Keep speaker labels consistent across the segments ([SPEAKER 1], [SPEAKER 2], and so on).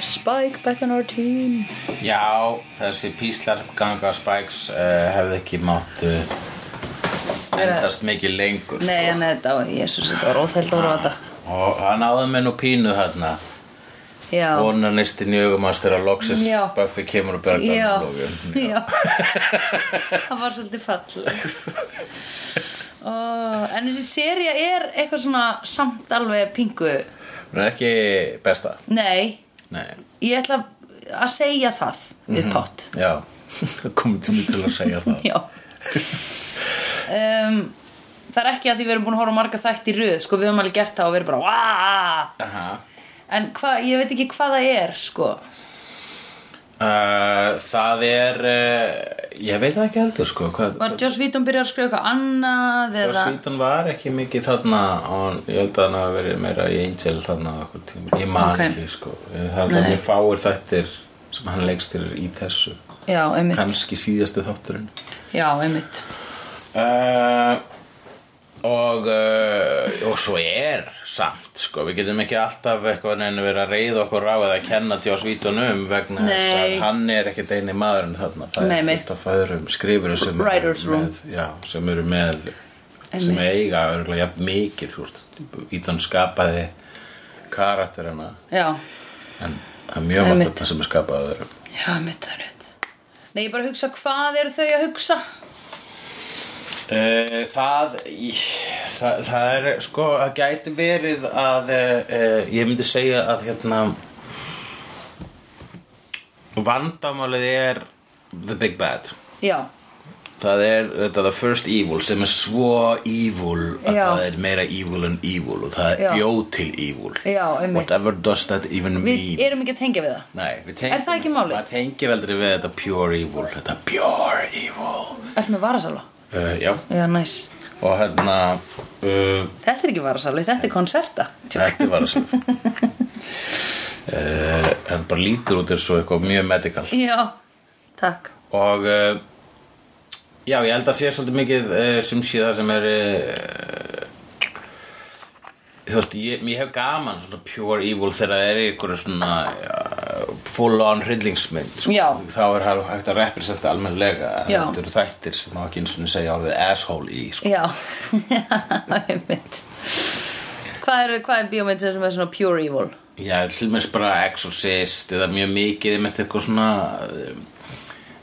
[SPEAKER 1] Spike back on our team
[SPEAKER 2] Já, þessi píslar ganga spæks uh, hefði ekki mátt uh, endast mikið lengur sko.
[SPEAKER 1] Nei, en þetta, jésus, þetta var óþælt að rota
[SPEAKER 2] og hann áði með nú pínu hérna
[SPEAKER 1] Já,
[SPEAKER 2] vonanistinn í augumast þegar loksis
[SPEAKER 1] Já.
[SPEAKER 2] Buffy kemur og björgar
[SPEAKER 1] já,
[SPEAKER 2] hann lókin.
[SPEAKER 1] já Það var svolítið fall En þessi seria er eitthvað svona samt alveg pingu
[SPEAKER 2] Hún er ekki besta
[SPEAKER 1] Nei,
[SPEAKER 2] Nei,
[SPEAKER 1] ég ætla að segja það við pott
[SPEAKER 2] já komið tími til að segja það
[SPEAKER 1] Já um, Það er ekki að því við erum búin að horfa á marga þætt í röð sko, við höfum alveg gert það og við erum bara "Vá!"
[SPEAKER 2] Aha.
[SPEAKER 1] En hva, ég veit ekki hvað það er sko.
[SPEAKER 2] Uh, það er uh, ég veit það ekki heldur sko hvað,
[SPEAKER 1] Var Joss Vítum byrjað að skrifa eitthvað annað
[SPEAKER 2] Joss
[SPEAKER 1] eða...
[SPEAKER 2] Whedon var ekki mikið þarna og ég held að hann hafi verið meira í Angel þarna á okkur tíma, ég man
[SPEAKER 1] Ok.
[SPEAKER 2] ekki sko ég held að
[SPEAKER 1] Nei.
[SPEAKER 2] mér fáir þættir sem hann leggst til í þessu
[SPEAKER 1] Já, einmitt
[SPEAKER 2] kannski síðasti þátturinn
[SPEAKER 1] Já, einmitt
[SPEAKER 2] uh, og uh, og svo er samt sko, við getum ekki alltaf eitthvað neina verið að reyða okkur á eða að kenna Joss Whedon um vegna þess að
[SPEAKER 1] Nei.
[SPEAKER 2] hann er ekkit eini maðurinn þarna, það
[SPEAKER 1] Nei,
[SPEAKER 2] er
[SPEAKER 1] nei.
[SPEAKER 2] fullt af fæðurum skrifur sem, eru
[SPEAKER 1] Writers' room.
[SPEAKER 2] með, já, sem eru með sem
[SPEAKER 1] Einmitt.
[SPEAKER 2] eiga örgulega jafn mikið þú veist, Ídon skapaði karakterina
[SPEAKER 1] Já,
[SPEAKER 2] en það er mjög margt
[SPEAKER 1] Einmitt.
[SPEAKER 2] þarna sem er skapaði öðrum
[SPEAKER 1] já, einmitt það er rétt Nei, ég bara hugsa hvað eru þau að hugsa
[SPEAKER 2] Uh, það, í- það, það er sko, það gæti verið að uh, uh, ég myndi segja að hérna vandamálið er The Big Bad
[SPEAKER 1] Já,
[SPEAKER 2] það er þetta The First Evil sem er svo evil að
[SPEAKER 1] Já.
[SPEAKER 2] það er meira evil en evil og það er
[SPEAKER 1] Já.
[SPEAKER 2] bjóð til evil
[SPEAKER 1] Já, einmitt.
[SPEAKER 2] whatever does that even
[SPEAKER 1] við
[SPEAKER 2] mean
[SPEAKER 1] erum ekki að tengja við það
[SPEAKER 2] Nei, við tengjum,
[SPEAKER 1] Er það ekki málið?
[SPEAKER 2] maður tengir aldrei við þetta pure evil þetta pure evil
[SPEAKER 1] Ertu með varasala?
[SPEAKER 2] uh, já,
[SPEAKER 1] Já, næs
[SPEAKER 2] og hérna uh,
[SPEAKER 1] Þetta er ekki varasali, þetta er konserta
[SPEAKER 2] Þetta var að sjálf uh, En bara lítur út eins og eitthvað mjög medical
[SPEAKER 1] Já, takk
[SPEAKER 2] Og uh, Já, ég held að sé svolítið mikið uh, sem sé það sem er uh, Þú veist, ég, ég hef gaman svona pure evil þegar það er einhverju svona uh, full on hryllingsmynd sko.
[SPEAKER 1] Já.
[SPEAKER 2] Þá er það hægt að representa almennlega en
[SPEAKER 1] Já.
[SPEAKER 2] þetta eru þættir sem má ekki eins og segja orðið asshole í sko.
[SPEAKER 1] Já, einmitt Hvað er, hvað er bíómynd sem er svona pure evil?
[SPEAKER 2] Já, til mér bara Exorcist eða mjög mikið með eitthvað svona um,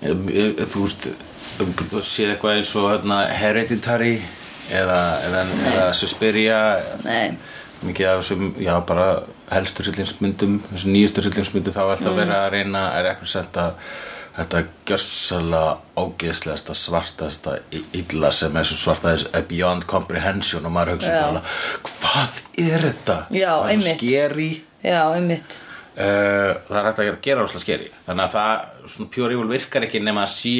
[SPEAKER 2] um, um, þú veist um, þú séð eitthvað eins og hérna, Hereditary eða, eða, eða Suspiria
[SPEAKER 1] Nei,
[SPEAKER 2] mikið af þessum, já bara helstu hryllingsmyndum, þessum nýjustu hryllingsmyndum þá er alltaf mm. verið að reyna að representa þetta gjössalega ógeðslegasta, svartasta í- illa sem er svo svarta þess er beyond comprehension og maður hugsa
[SPEAKER 1] Já.
[SPEAKER 2] bara, hvað er þetta?
[SPEAKER 1] Já,
[SPEAKER 2] það er svo
[SPEAKER 1] einmitt.
[SPEAKER 2] skeri
[SPEAKER 1] já, einmitt
[SPEAKER 2] Uh, það er hægt að gera- gera óslega skeri þannig að það, svona pure evil virkar ekki nema að sé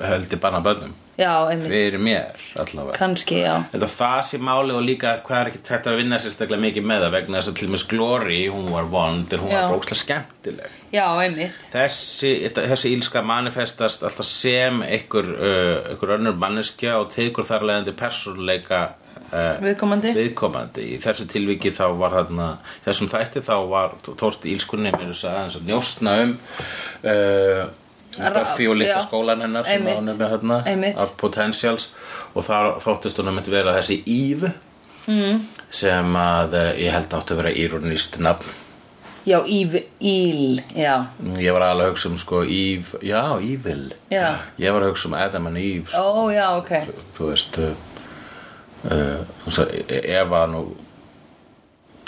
[SPEAKER 2] höldi banna bönnum
[SPEAKER 1] Já, einmitt,
[SPEAKER 2] fyrir mér allavega
[SPEAKER 1] kannski, já
[SPEAKER 2] Þetta það sé máli og líka hvað er ekki tætt að vinna sérstaklega mikið með það vegna þess að til dæmis Glory, hún var vond en hún
[SPEAKER 1] Já.
[SPEAKER 2] var brókslega skemmtileg
[SPEAKER 1] Já, einmitt
[SPEAKER 2] þessi, þetta- þessi ílska manifestast alltaf sem einhver, uh, einhver önnur manneskja og tegur þar leðandi persónuleika uh,
[SPEAKER 1] Viðkomandi?
[SPEAKER 2] viðkomandi í þessu tilviki þá var þarna í þessum þætti þá var tórt í ílskunni mér þess að aðeins að njóstna um uh,
[SPEAKER 1] Ra-
[SPEAKER 2] Buffy og litla
[SPEAKER 1] já.
[SPEAKER 2] skólan hennar sem
[SPEAKER 1] Einmitt.
[SPEAKER 2] hún er með þarna
[SPEAKER 1] Einmitt.
[SPEAKER 2] af Potentials og þar þóttist hún að myndi vera þessi Eve mm. sem að eh, ég held áttu að vera ironist nafn
[SPEAKER 1] Já, ív, íl, já
[SPEAKER 2] Ég var alveg að hugsa um sko Eve, já, Evil
[SPEAKER 1] Já.
[SPEAKER 2] Ég var að hugsa um Adam and Eve sko.
[SPEAKER 1] Ó, já, ok
[SPEAKER 2] Þú veist uh, uh, þú veist, Eva nú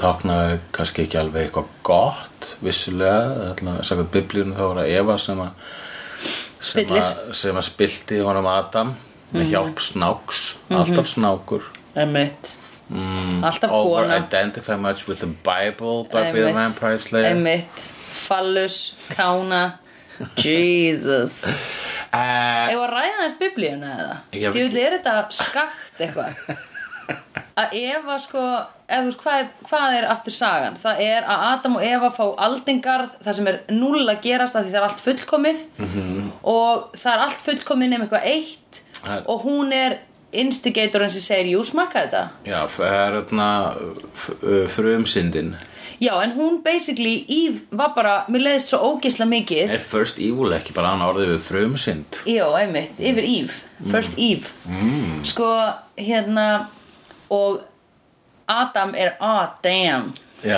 [SPEAKER 2] táknaði kannski ekki alveg eitthvað gott vissulega, ætla, sagði biblíunum þá var það Eva sem að sem,
[SPEAKER 1] Spillir. Mhm.
[SPEAKER 2] að- sem að spilti honum Adam með hjálp snáks alltaf snákur
[SPEAKER 1] Einmitt mm, Mhm. Alltaf
[SPEAKER 2] over
[SPEAKER 1] kona
[SPEAKER 2] identify much with the Bible Buffy the
[SPEAKER 1] Einmitt.
[SPEAKER 2] Vampire Slayer
[SPEAKER 1] Einmitt Fallus, kána Jesus
[SPEAKER 2] uh,
[SPEAKER 1] Ég var að ræða þess biblíuna eða
[SPEAKER 2] Ég-
[SPEAKER 1] Djúli, er þetta skakt eitthvað? Að Eva sko eða þú veist hvað er, hvað er aftur sagan það er að Adam og Eva fá aldingarð það sem er null að gerast af því það er allt fullkomið -hmm. og það er allt fullkomið nefn eitthvað eitt
[SPEAKER 2] Mhm. Það er-
[SPEAKER 1] og hún er
[SPEAKER 2] eh,
[SPEAKER 1] instigatorinn sem segir jú smakka þetta
[SPEAKER 2] Já, það er þarna hérna, eh, frumsyndin
[SPEAKER 1] Já, en hún basically, Eve var bara, mér leiðist svo ógisla mikið
[SPEAKER 2] Er First Evil ekki bara annað orðið við frumsynd?
[SPEAKER 1] Jó, einmitt, yfir Eve First Eve mm. Sko, hérna Og Adam er Ah, damn
[SPEAKER 2] Já,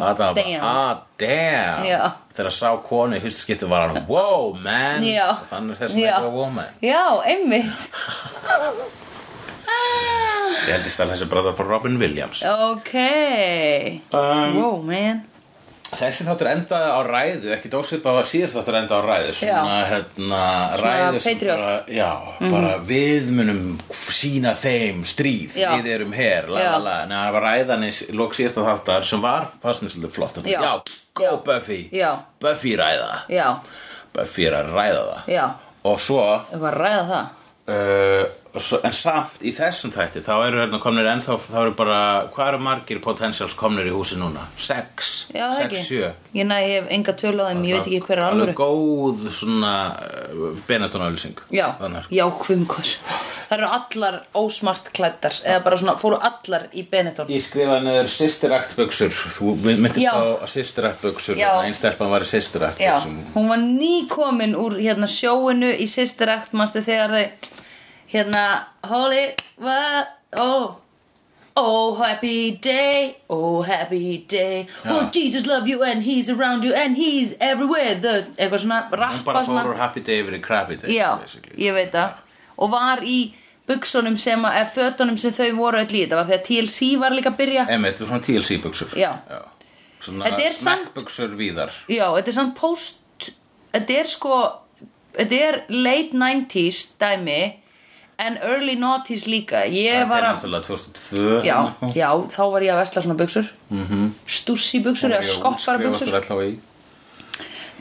[SPEAKER 2] Adam bara,
[SPEAKER 1] Damn.
[SPEAKER 2] ah, damn
[SPEAKER 1] Já.
[SPEAKER 2] Þegar hann sá konu í fyrsta skipti var hann Wow, man
[SPEAKER 1] Já.
[SPEAKER 2] Og Þannig er þess að
[SPEAKER 1] Já.
[SPEAKER 2] eitthvað woman
[SPEAKER 1] Já, einmitt
[SPEAKER 2] Ég held ég stæla þessi bara frá Robin Williams
[SPEAKER 1] Ok
[SPEAKER 2] um,
[SPEAKER 1] Wow, man
[SPEAKER 2] Þessi þáttur endaði á ræðu Ekki dósvipað var síðast þáttur endaði á ræðu Svona, hérna,
[SPEAKER 1] Svona
[SPEAKER 2] ræðu sem
[SPEAKER 1] patriot. Mhm.
[SPEAKER 2] bara, Já, bara við munum sína þeim stríð
[SPEAKER 1] Já.
[SPEAKER 2] Við erum her, la la
[SPEAKER 1] Já.
[SPEAKER 2] la Nei, það var ræðan í s- lok síðasta þáttar Sem var, fannst mér svolítið flott
[SPEAKER 1] Já.
[SPEAKER 2] já go
[SPEAKER 1] Já.
[SPEAKER 2] Buffy
[SPEAKER 1] Já.
[SPEAKER 2] Buffy ræða
[SPEAKER 1] Já,
[SPEAKER 2] Buffy er að ræða það
[SPEAKER 1] já
[SPEAKER 2] Og svo
[SPEAKER 1] Eitthvað að ræða það
[SPEAKER 2] Uh, svo- en samt í þessum þætti þá eru hérna komnir ennþá þá eru bara, hvað eru margir potentials komnir í húsi núna? Sex,
[SPEAKER 1] Já, það
[SPEAKER 2] sex,
[SPEAKER 1] ekki
[SPEAKER 2] sjö
[SPEAKER 1] Ég næ, ég hef enga tölu á þeim, ég veit ekki hver er
[SPEAKER 2] alveg
[SPEAKER 1] alvöru
[SPEAKER 2] góð svona uh, Benetton-auðlýsing
[SPEAKER 1] Já,
[SPEAKER 2] Þannig,
[SPEAKER 1] já, hvimkur Það eru allar ósmart klættar Eða bara svona, fóru allar í Benetton
[SPEAKER 2] ég skrifaði neður systeraktbuxur þú myndist
[SPEAKER 1] Já.
[SPEAKER 2] á systeraktbuxur
[SPEAKER 1] Já.
[SPEAKER 2] einstelpan var í
[SPEAKER 1] Já,
[SPEAKER 2] systeraktbuxum
[SPEAKER 1] hún var nýkomin úr hérna sjóinu í sýstirakt manstu þegar þau hérna holy, what, oh Oh happy day, oh happy day Oh Jesus love you and he's around you and he's everywhere the, eitthvað svona
[SPEAKER 2] hún
[SPEAKER 1] rappa
[SPEAKER 2] bara
[SPEAKER 1] svona
[SPEAKER 2] fór úr happy day yfir í crappy day
[SPEAKER 1] Já,
[SPEAKER 2] basically.
[SPEAKER 1] ég veit það og var í buksunum sem að, eða fötunum sem þau voru öll í þetta var þegar TLC var líka að byrja
[SPEAKER 2] Emmett, þú er svona TLC-buxur
[SPEAKER 1] Já.
[SPEAKER 2] svona
[SPEAKER 1] Þetta er samt-
[SPEAKER 2] snackbuxur víðar
[SPEAKER 1] Já, þetta er samt post Þetta er sko Þetta er late 90s dæmi En early 90s líka Ég
[SPEAKER 2] þetta
[SPEAKER 1] var
[SPEAKER 2] er
[SPEAKER 1] að
[SPEAKER 2] náttúrulega 2002
[SPEAKER 1] já, já, þá var ég að vesla svona buksur mm
[SPEAKER 2] Mhm.
[SPEAKER 1] -hmm. Stússi buksur eða skoppar buksur
[SPEAKER 2] buksur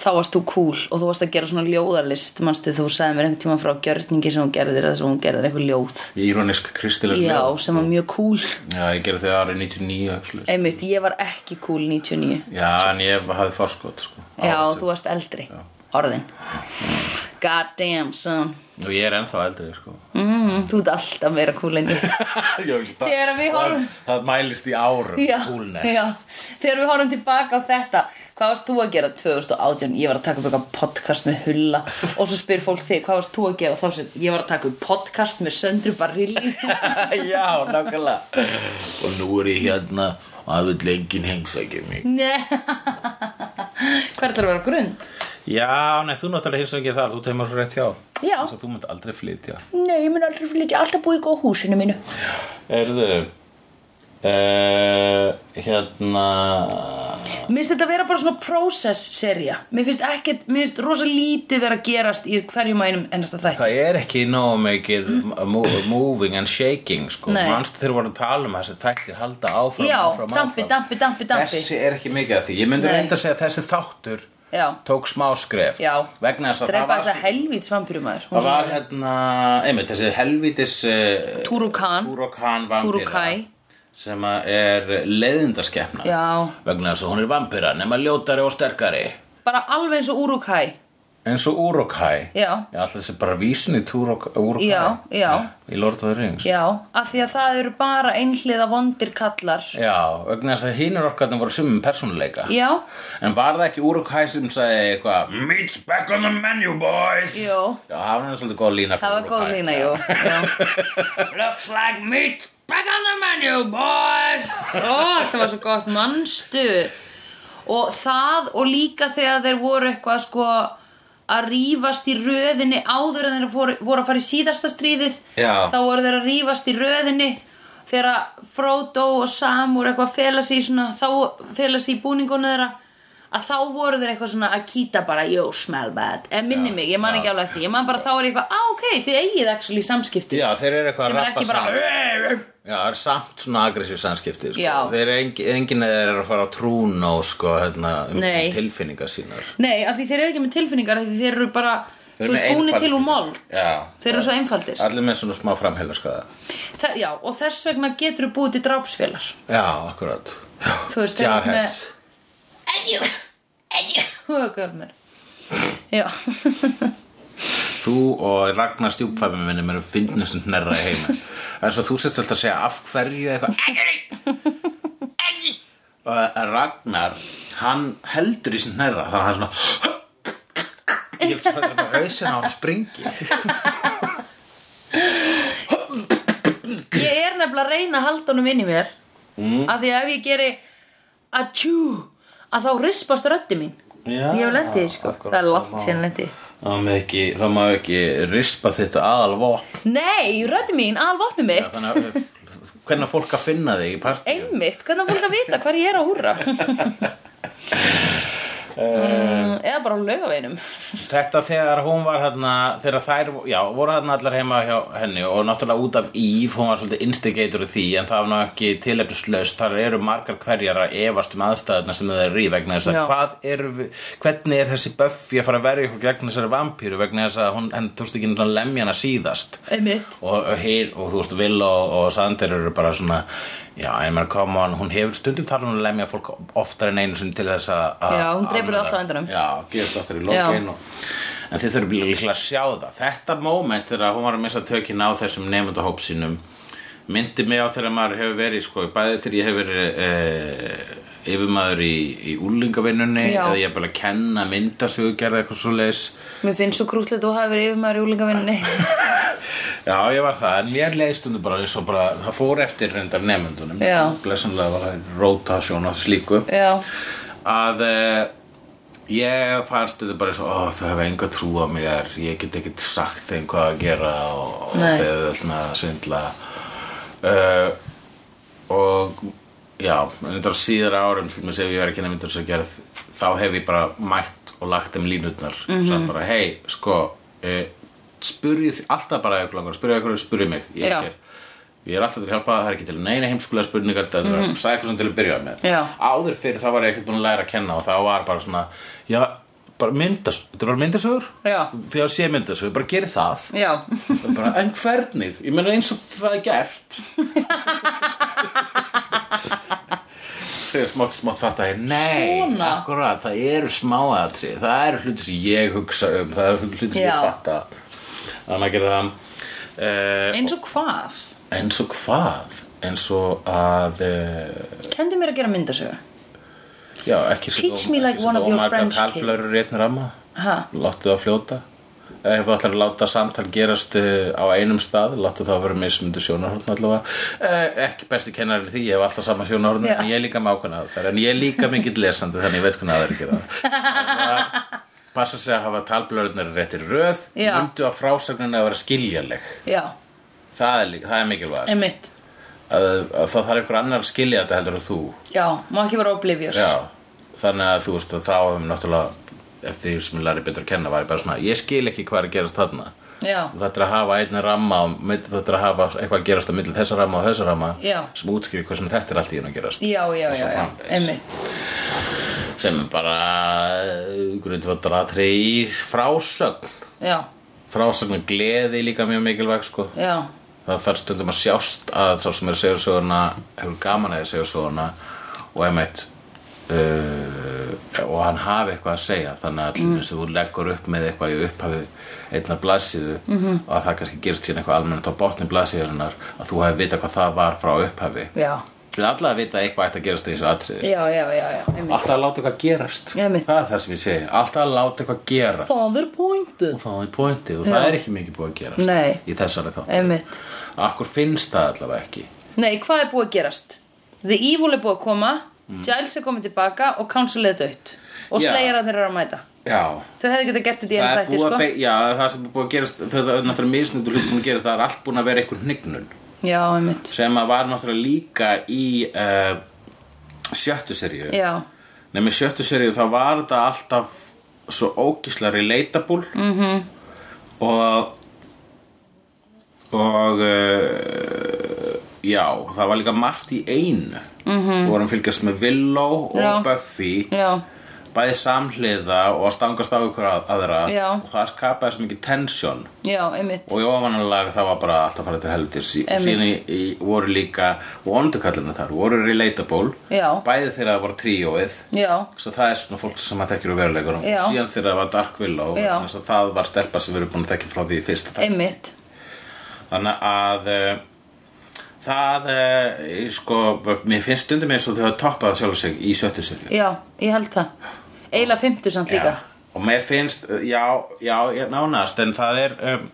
[SPEAKER 1] Þá varst þú cool og þú varst að gera svona ljóðarlist Manstu þú sagði mér einhvern tíma frá gjörningi sem hún gerðir eða sem hún gerðir eitthvað ljóð
[SPEAKER 2] Írónisk kristileg
[SPEAKER 1] Já,
[SPEAKER 2] ljóð.
[SPEAKER 1] sem var mjög cool
[SPEAKER 2] Já, ég gerði þau árið 99 actually.
[SPEAKER 1] Einmitt, ég var ekki cool 99
[SPEAKER 2] Já, en ég hafði forskot sko, á
[SPEAKER 1] Já,
[SPEAKER 2] þessu.
[SPEAKER 1] þú varst eldri Orðin God damn son
[SPEAKER 2] Og ég er ennþá eldri sko.
[SPEAKER 1] mm, Þú ert alltaf meira cool en ég
[SPEAKER 2] Já, það,
[SPEAKER 1] Þegar við horfum-
[SPEAKER 2] það, það mælist í árum
[SPEAKER 1] já,
[SPEAKER 2] Coolness
[SPEAKER 1] já. þegar við horfum tilbaka á þetta hvað varst þú að gera 2018 ég var að taka upp eitthvað podcast með Hulla og svo spyr fólk þig hvað varst þú að gera þá sem ég var að taka upp podcast með Söndru Barilli
[SPEAKER 2] Já, nákvæmlega Og nú er ég hérna og það vil enginn heimsækja mig
[SPEAKER 1] Nei. hvað er það að vera grund?
[SPEAKER 2] Já, nei, þú náttúrulega heimsækja þar, þú teimur svo rétt hjá
[SPEAKER 1] Já.
[SPEAKER 2] Þess að Þú munt aldrei flytja
[SPEAKER 1] Nei, ég mun aldrei flytja alltaf búið í góð húsinu mínu
[SPEAKER 2] Erðu Uh, hérna
[SPEAKER 1] Mér finnst þetta að vera bara svona process-serja Mér finnst ekkert, mér finnst rosa lítið vera að gerast í hverjum að einum ennasta þætti
[SPEAKER 2] Það er ekki nógu mikið mo- moving and shaking sko.
[SPEAKER 1] Mm. Nei.
[SPEAKER 2] Manstu þeir voru að tala um þessi þættir halda áfram,
[SPEAKER 1] Já,
[SPEAKER 2] áfram, áfram
[SPEAKER 1] dampi, dampi, dampi, dampi
[SPEAKER 2] Þessi er ekki mikið að því Ég myndi
[SPEAKER 1] Nei.
[SPEAKER 2] reynda að segja að þessi þáttur
[SPEAKER 1] Já,
[SPEAKER 2] tók smá skref
[SPEAKER 1] já
[SPEAKER 2] Vegna þess að það
[SPEAKER 1] Drepa
[SPEAKER 2] var,
[SPEAKER 1] þessa helvíts vampirumæður
[SPEAKER 2] það var hérna einmitt, þessi helvítis uh,
[SPEAKER 1] Túrukan.
[SPEAKER 2] Túrukan vampíra
[SPEAKER 1] Túrukai.
[SPEAKER 2] sem að er leiðindaskepna
[SPEAKER 1] Já.
[SPEAKER 2] vegna þess að hún er vampíra nema ljótari og sterkari
[SPEAKER 1] Bara alveg eins og Urukæ
[SPEAKER 2] eins og Urukai
[SPEAKER 1] Já.
[SPEAKER 2] Já, alltaf þessi bara vísin í Urukai
[SPEAKER 1] Já, já.
[SPEAKER 2] Í Lord of the Rings
[SPEAKER 1] Já, af því að það eru bara einhliða vondir kallar
[SPEAKER 2] Já, vegna þess að hinnur orkarnir voru sumum persónuleika
[SPEAKER 1] Já,
[SPEAKER 2] En var það ekki Urukai sem sagði eitthvað Meat's back on the menu boys
[SPEAKER 1] Jú.
[SPEAKER 2] Já, það var nú svolítið góð lína frá
[SPEAKER 1] það var góð
[SPEAKER 2] Uruk-hai.
[SPEAKER 1] lína, jú já. Looks like meat back on the menu, boys Ó, það var svo gott, manstu Og það og líka þegar þeir voru eitthvað sko að rífast í röðinni áður en þeir fóru- voru að fara í síðasta stríðið
[SPEAKER 2] Já.
[SPEAKER 1] þá voru þeir að rífast í röðinni þegar að Frodo og Sam voru eitthvað að fela sig í svona þá fela sig í búningunni þeirra að þá voru þeir eitthvað svona að kýta bara you smell bad, eða minni mig, ég man ekki alveg eftir ég man bara þá er ég eitthvað, á ok, þið eigið actually samskipti
[SPEAKER 2] Já, þeir eru eitthvað
[SPEAKER 1] sem
[SPEAKER 2] að
[SPEAKER 1] er
[SPEAKER 2] rappa
[SPEAKER 1] ekki bara
[SPEAKER 2] saman Já, það er samt svona aggressív samskipti sko.
[SPEAKER 1] Já.
[SPEAKER 2] Þeir eru engin, engin eða er að fara á trún og sko, hérna, um
[SPEAKER 1] Nei.
[SPEAKER 2] tilfinningar sínar
[SPEAKER 1] nei, af því þeir eru ekki með tilfinningar af því þeir eru bara,
[SPEAKER 2] Þeir
[SPEAKER 1] þú
[SPEAKER 2] eru
[SPEAKER 1] veist,
[SPEAKER 2] með
[SPEAKER 1] búni til úr
[SPEAKER 2] einfaldir.
[SPEAKER 1] mold
[SPEAKER 2] Já.
[SPEAKER 1] þeir eru svo einfaldir
[SPEAKER 2] Allir með svona smá framheilarskaða
[SPEAKER 1] Þa, já, og þess vegna getur þú búið til drápsfélar
[SPEAKER 2] Já, akkurat
[SPEAKER 1] Þú hérna veist, þeir eru
[SPEAKER 2] Jarheads
[SPEAKER 1] Edjú, edjú Hugölmer Já,
[SPEAKER 2] Þú og Ragnar stjúpfæmi minni mér erum fyndnustum hnerra í heimi En svo þú setst alltaf að segja af hverju eitthvað uh, Ragnar hann heldur í sin hnerra þannig að hann er svona ég er svona að hausin á hann springi
[SPEAKER 1] Ég er nefnilega að reyna að halda honum inn í mér mm. Af því að ef ég geri Atjú Að þá rispast röddi mín
[SPEAKER 2] Já,
[SPEAKER 1] Ég hef lendið því sko
[SPEAKER 2] akkurat,
[SPEAKER 1] Það er langt
[SPEAKER 2] það má-
[SPEAKER 1] síðan lendið
[SPEAKER 2] það má ekki, það má ekki rispa þetta aðalvopn
[SPEAKER 1] Nei, röddi mín, alvopni mitt
[SPEAKER 2] þannig að hvernig á fólk að finna þig í partíum
[SPEAKER 1] Einmitt, hvernig á fólk að vita hvar ég er að húrra Mm, Eða bara á laugaveginum
[SPEAKER 2] Þetta þegar hún var hérna, þegar þær, já, voru hérna allar heima hjá henni og náttúrulega út af Íf, hún var svolítið instigator í því en það var ná ekki tilefnislaust, þar eru margar hverjar að efast um aðstæðuna sem það eru í vegna þess að
[SPEAKER 1] Já.
[SPEAKER 2] hvað eru við, hvernig er þessi Buffy að fara að verja ykkur gegn þessari vampíru vegna þess að hún, henni tókst ekki svona lemjana síðast
[SPEAKER 1] Einmitt
[SPEAKER 2] og, og, heil, og þú veist, Will og, og Sander eru bara svona, já, en maður come on, hún hefur stundum þar hún að lemja fólk oftar en einu sinni til þess að að-
[SPEAKER 1] Já, hún drepur það
[SPEAKER 2] að-
[SPEAKER 1] alltaf á endanum.
[SPEAKER 2] Já, gefur það aftur í lokin og, En þið þurfum líklega að sjá það Þetta moment þegar hún var að missa tökin á þessum nefndahóp sínum myndi mig á þegar maður hefur verið sko, bæði þegar ég hefur verið eh, yfirmaður í, í úlingavinnunni
[SPEAKER 1] Já.
[SPEAKER 2] eða ég er bara að kenna myndasögugerð eitthvað svo leis
[SPEAKER 1] Mér finnst svo krútlegt að þú hafi verið yfirmaður í úlingavinninni
[SPEAKER 2] Já, ég var það, en mér leið stundum bara eins og bara, það fór eftir reyndar nefndunum
[SPEAKER 1] Já.
[SPEAKER 2] blessanlega var það rotasjón af slíku
[SPEAKER 1] Já,
[SPEAKER 2] að eh, ég fannst þetta bara svo, ó, þau hefur enga trú á mér ég get ekkert sagt þeim hvað að gera og, og
[SPEAKER 1] Nei.
[SPEAKER 2] þau eru öllna að svindla uh, og já, en þetta var síðar árum til þess að ég var ekki nefndur þess að gera þá hef ég bara mætt og lagt þeim línutnar mm
[SPEAKER 1] Mhm.
[SPEAKER 2] -hmm. bara, hei, sko uh, spurðið, alltaf bara ykkur langar spurðið ykkur, spurðið mig, ég
[SPEAKER 1] Já.
[SPEAKER 2] er hér Ég er alltaf til að hjálpa, það er ekki til neina heimskulega spurningar,
[SPEAKER 1] Mhm.
[SPEAKER 2] það er mm. sækur sem til að byrja með.
[SPEAKER 1] Já.
[SPEAKER 2] Áður fyrir þá var ég ekkert búin að læra að kenna og þá var bara svona, já, bara myndas, þetta var myndasögur,
[SPEAKER 1] Já.
[SPEAKER 2] þegar sé myndasögur, bara geri það.
[SPEAKER 1] já
[SPEAKER 2] bara, en hvernig? Ég meina eins og það er gert. Þegar smátt, smátt fattar ég, nei,
[SPEAKER 1] Svona.
[SPEAKER 2] akkurat, það eru smáatri, það eru hluti sem ég hugsa um, það eru hluti sem
[SPEAKER 1] Já.
[SPEAKER 2] ég fatta. Þannig að maður gera það. Uh,
[SPEAKER 1] Eins og hvað?
[SPEAKER 2] eins og hvað eins og að uh,
[SPEAKER 1] Kendu mér að gera myndasögu
[SPEAKER 2] já, ekki
[SPEAKER 1] Teach me like one of your French
[SPEAKER 2] kalblöru rétni ramma
[SPEAKER 1] Ha?
[SPEAKER 2] láttu það fljóta ef þú ætlar að láta samtal gerast uh, á einum stað, láttu það að vera mismundu sjónarhorn allavega uh, ekki besti kennarinn í því, ég hef alltaf sama sjónarhorn
[SPEAKER 1] Já.
[SPEAKER 2] en ég er líka með ákveðna þar en ég er líka mikill lesandi þannig ég veit hvernig aðeir gera það Bara passa sig að hafa talblöðunar réttir röð
[SPEAKER 1] Já.
[SPEAKER 2] mundu að frásagnin að vera skiljanleg
[SPEAKER 1] Já,
[SPEAKER 2] það er, líka- það er mikilvægast
[SPEAKER 1] einmitt
[SPEAKER 2] að, að það þarf ykkur annar að skilja þetta heldur en þú
[SPEAKER 1] Já, má ekki vera oblivious
[SPEAKER 2] Já, þannig að þú veist að þá hefum náttúrulega eftir því sem ég læri betur að kenna var ég bara svona, ég skil ekki hvað er að gerast þarna
[SPEAKER 1] Já,
[SPEAKER 2] þú ættir að hafa einn ramma á milli- þú ættir að hafa eitthvað að gerast á milli þessa ramma og þessa ramma
[SPEAKER 1] Já.
[SPEAKER 2] sem útskýri hvað sem þetta er allt í hennu að gerast
[SPEAKER 1] já, já, já, já,
[SPEAKER 2] framvegis.
[SPEAKER 1] einmitt
[SPEAKER 2] sem er bara grundvöldar að treyja í frásögn
[SPEAKER 1] Já,
[SPEAKER 2] frásögn og gleði líka mjög mikilvæg sko.
[SPEAKER 1] já,
[SPEAKER 2] það þarf stundum að sjást að sá sem er að segja söguna hefur gaman að því að segja söguna og einmitt uh, og hann hafi eitthvað að segja þannig að mm. þú leggur upp með eitthvað í upphafi einnar blaðsíðu
[SPEAKER 1] Mhm.
[SPEAKER 2] -hmm. og að það kannski gerst síðan eitthvað almennt á botni blaðsíðurinnar að þú hefði vita hvað það var frá upphafi
[SPEAKER 1] já
[SPEAKER 2] við alla að vita að eitthvað ætti að gerast í þessu atriði
[SPEAKER 1] Já, já, já, já, einmitt
[SPEAKER 2] alltaf að láta eitthvað gerast
[SPEAKER 1] Einmitt.
[SPEAKER 2] það er það sem ég segi, alltaf að láta eitthvað gerast
[SPEAKER 1] Það er pointið
[SPEAKER 2] það er pointið og það
[SPEAKER 1] Já.
[SPEAKER 2] er ekki mikið búið að gerast
[SPEAKER 1] Nei.
[SPEAKER 2] í þessari þátt
[SPEAKER 1] Einmitt
[SPEAKER 2] akkur finnst það allavega ekki
[SPEAKER 1] Nei, hvað er búið að gerast? The Evil er búið að koma Giles er komið tilbaka og Council er dött Og
[SPEAKER 2] Mm. Já.
[SPEAKER 1] Slayer að þeirra eru að mæta
[SPEAKER 2] Já,
[SPEAKER 1] Þau hefðu getað gert þetta í
[SPEAKER 2] það
[SPEAKER 1] enn
[SPEAKER 2] er
[SPEAKER 1] þætti,
[SPEAKER 2] búið að
[SPEAKER 1] sko
[SPEAKER 2] be- já, það sem er búið að gerast það er náttúrulega misnundu hlut búin að gerast það er allt búin að vera einhver hnignun
[SPEAKER 1] Já, einmitt
[SPEAKER 2] sem að var náttúrulega líka í uh, sjöttu seríu
[SPEAKER 1] Já,
[SPEAKER 2] Nei, með sjöttu seríu þá var þetta alltaf svo ógislega relatable mm
[SPEAKER 1] Mhm.
[SPEAKER 2] -hmm. og og uh, já, það var líka margt í einu mm -hmm. vorum fylgjast með Willow og
[SPEAKER 1] Mhm. Já.
[SPEAKER 2] Buffy
[SPEAKER 1] já,
[SPEAKER 2] bæði samhliða og að stangast á ykkur að- aðra
[SPEAKER 1] Já.
[SPEAKER 2] og það skapaði svo mikið tensjón
[SPEAKER 1] já, einmitt
[SPEAKER 2] og í ofanalag það var bara allt að fara til helvitis sí,
[SPEAKER 1] Einmitt.
[SPEAKER 2] síðan í, í, voru líka vondukallina þar, voru relatable
[SPEAKER 1] Já.
[SPEAKER 2] bæði þegar það voru tríóið
[SPEAKER 1] Já,
[SPEAKER 2] svo það er svona fólk sem að þekkir úr veruleikunum
[SPEAKER 1] Já.
[SPEAKER 2] og síðan þegar það var Dark
[SPEAKER 1] Já.
[SPEAKER 2] Willow vegna þess að það var stelpa sem við erum búin að þekkja frá því í fyrsta þætti.
[SPEAKER 1] einmitt
[SPEAKER 2] þannig að uh, það, eh, sko, mér finnst stundum eins og þau hafa toppað sjálf sig í sjöttu sérlu.
[SPEAKER 1] Já, ég held það Eila 50 samt líka
[SPEAKER 2] Og mér finnst, eh, já, já, ég nánast, en það er, um,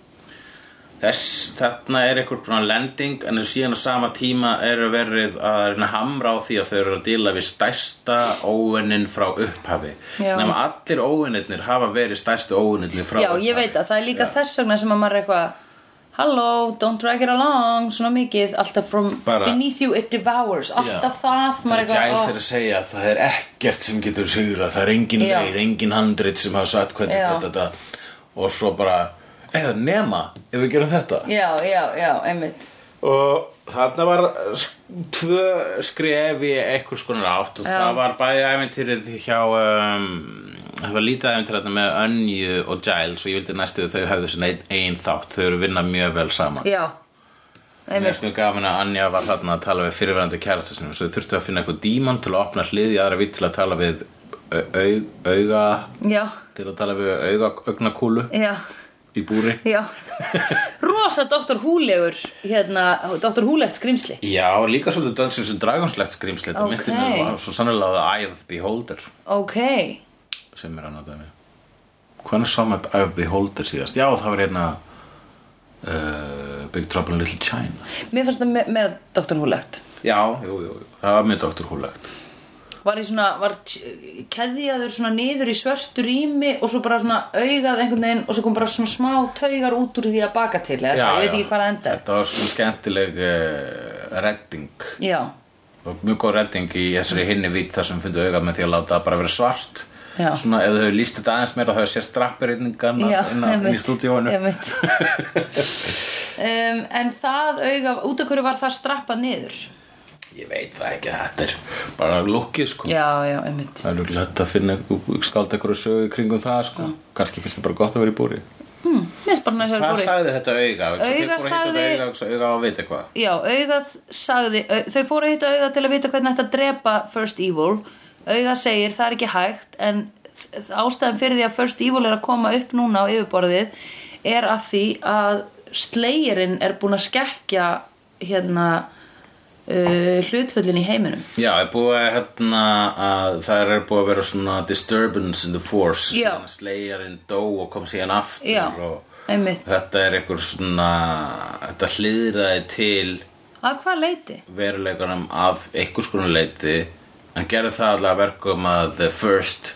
[SPEAKER 2] þess, þarna er einhver svona lending, en síðan á sama tíma eru verið að reyna að hamra á því að þau eru að díla við stærsta óunnin frá upphafi.
[SPEAKER 1] Já.
[SPEAKER 2] Nefnum allir óunninir hafa verið stærstu óunninir frá
[SPEAKER 1] Já,
[SPEAKER 2] upphafi.
[SPEAKER 1] ég veit að það er líka þess vegna sem að maður er eitthvað Hello, don't drag it along, svona mikið Alltaf from
[SPEAKER 2] Bara-
[SPEAKER 1] beneath you it devours Alltaf
[SPEAKER 2] Já.
[SPEAKER 1] það, maður
[SPEAKER 2] Þegar
[SPEAKER 1] er eitthvað "Oh."
[SPEAKER 2] Giles er
[SPEAKER 1] "Ó,
[SPEAKER 2] að segja að það er ekkert sem getur sigrað, það er engin
[SPEAKER 1] Já.
[SPEAKER 2] leið, engin handrit sem hafa sagt hvernig
[SPEAKER 1] Já.
[SPEAKER 2] þetta, þetta, og svo bara, eða nema ef við gerum þetta.
[SPEAKER 1] Já, já, já, einmitt
[SPEAKER 2] Og þarna var eh, tvö skref í einhvers konar átt og það var bæði æventýrið hjá, um, það var lítið æventýrið þarna með Önju og Giles og ég vildi næstu að þau hefðu þessi ein, ein þátt, þau eru að vinna mjög vel saman.
[SPEAKER 1] Já,
[SPEAKER 2] Mér
[SPEAKER 1] einmitt
[SPEAKER 2] finnst mjög gaman að Anja var þarna að tala við fyrirverandi kærasta sinum svo þau þurftu að finna eitthvað díman til að opna hlið í aðra vitt til að tala við au, au, auga
[SPEAKER 1] Já,
[SPEAKER 2] til að tala við auga augnakúlu
[SPEAKER 1] já,
[SPEAKER 2] í búri
[SPEAKER 1] já Rosa Dr. Húlegur Hérna, Dr. Húlegt skrimsli
[SPEAKER 2] Já, líka svolítið dansins sem dragonslegt skrýmsli þetta
[SPEAKER 1] Ok.
[SPEAKER 2] okay. myndi mér svo sannlega að Eye of the Beholder
[SPEAKER 1] Ok,
[SPEAKER 2] sem er annað dæmi Hvernig sá maður Eye of the Beholder síðast? Já, það var hérna uh, Big Trouble in Little China
[SPEAKER 1] mér fannst það me- meira Dr. Húlegt
[SPEAKER 2] Já, jú, jú, jú. það var mjög doktor húlegt
[SPEAKER 1] var í svona, var t- keðjaður svona niður í svörtu rými og svo bara svona augað einhvern veginn og svo kom bara svona smá taugar út úr því að baka til eða það, ég veit ekki hvað það endar
[SPEAKER 2] Þetta var svona skemmtileg uh, redding
[SPEAKER 1] já,
[SPEAKER 2] og mjög góð redding í þessari hinni vít þar sem fundu auga með því að láta það bara vera svart
[SPEAKER 1] Já.
[SPEAKER 2] svona ef þau hefur líst þetta aðeins meira þá hefur sér strappirreiningarna
[SPEAKER 1] já,
[SPEAKER 2] inn á- inn í stúdíóinu
[SPEAKER 1] einmitt. um, en það augað, út af hverju var það strappað niður
[SPEAKER 2] ég veit það ekki, þetta er bara lukkið sko
[SPEAKER 1] já, já, einmitt
[SPEAKER 2] það er lukkilega hægt að finna skáld ekkur að sögu í kringum það sko kannski finnst það bara gott að vera í búri
[SPEAKER 1] hm, minnst bara næst að
[SPEAKER 2] hvað
[SPEAKER 1] búri
[SPEAKER 2] sagði þetta auga? Svo
[SPEAKER 1] Auga
[SPEAKER 2] þeir fóru að hitta
[SPEAKER 1] sagði-
[SPEAKER 2] þetta auga, og svo auga á að vita eitthvað
[SPEAKER 1] Já, augað sagði, au, þau fóru að hitta augað til að vita hvernig ætti að drepa First Evil. Augað segir það er ekki hægt en þ- ástæðan fyrir því að First Evil er að koma upp núna á yfirborðið er af því að Slayerinn er búin að skekkja hérna uh, hlutföllin í heiminum.
[SPEAKER 2] Já, er búið að, hérna, að það er búið að vera svona disturbance in the force
[SPEAKER 1] Já.
[SPEAKER 2] síðan að slegjarinn dó og kom síðan aftur
[SPEAKER 1] Já,
[SPEAKER 2] og
[SPEAKER 1] einmitt.
[SPEAKER 2] þetta er einhver svona þetta hlýðraði til
[SPEAKER 1] Að hvað leiti?
[SPEAKER 2] veruleikunum af einhvers konar leiti en gerði það allavega að verkum að The First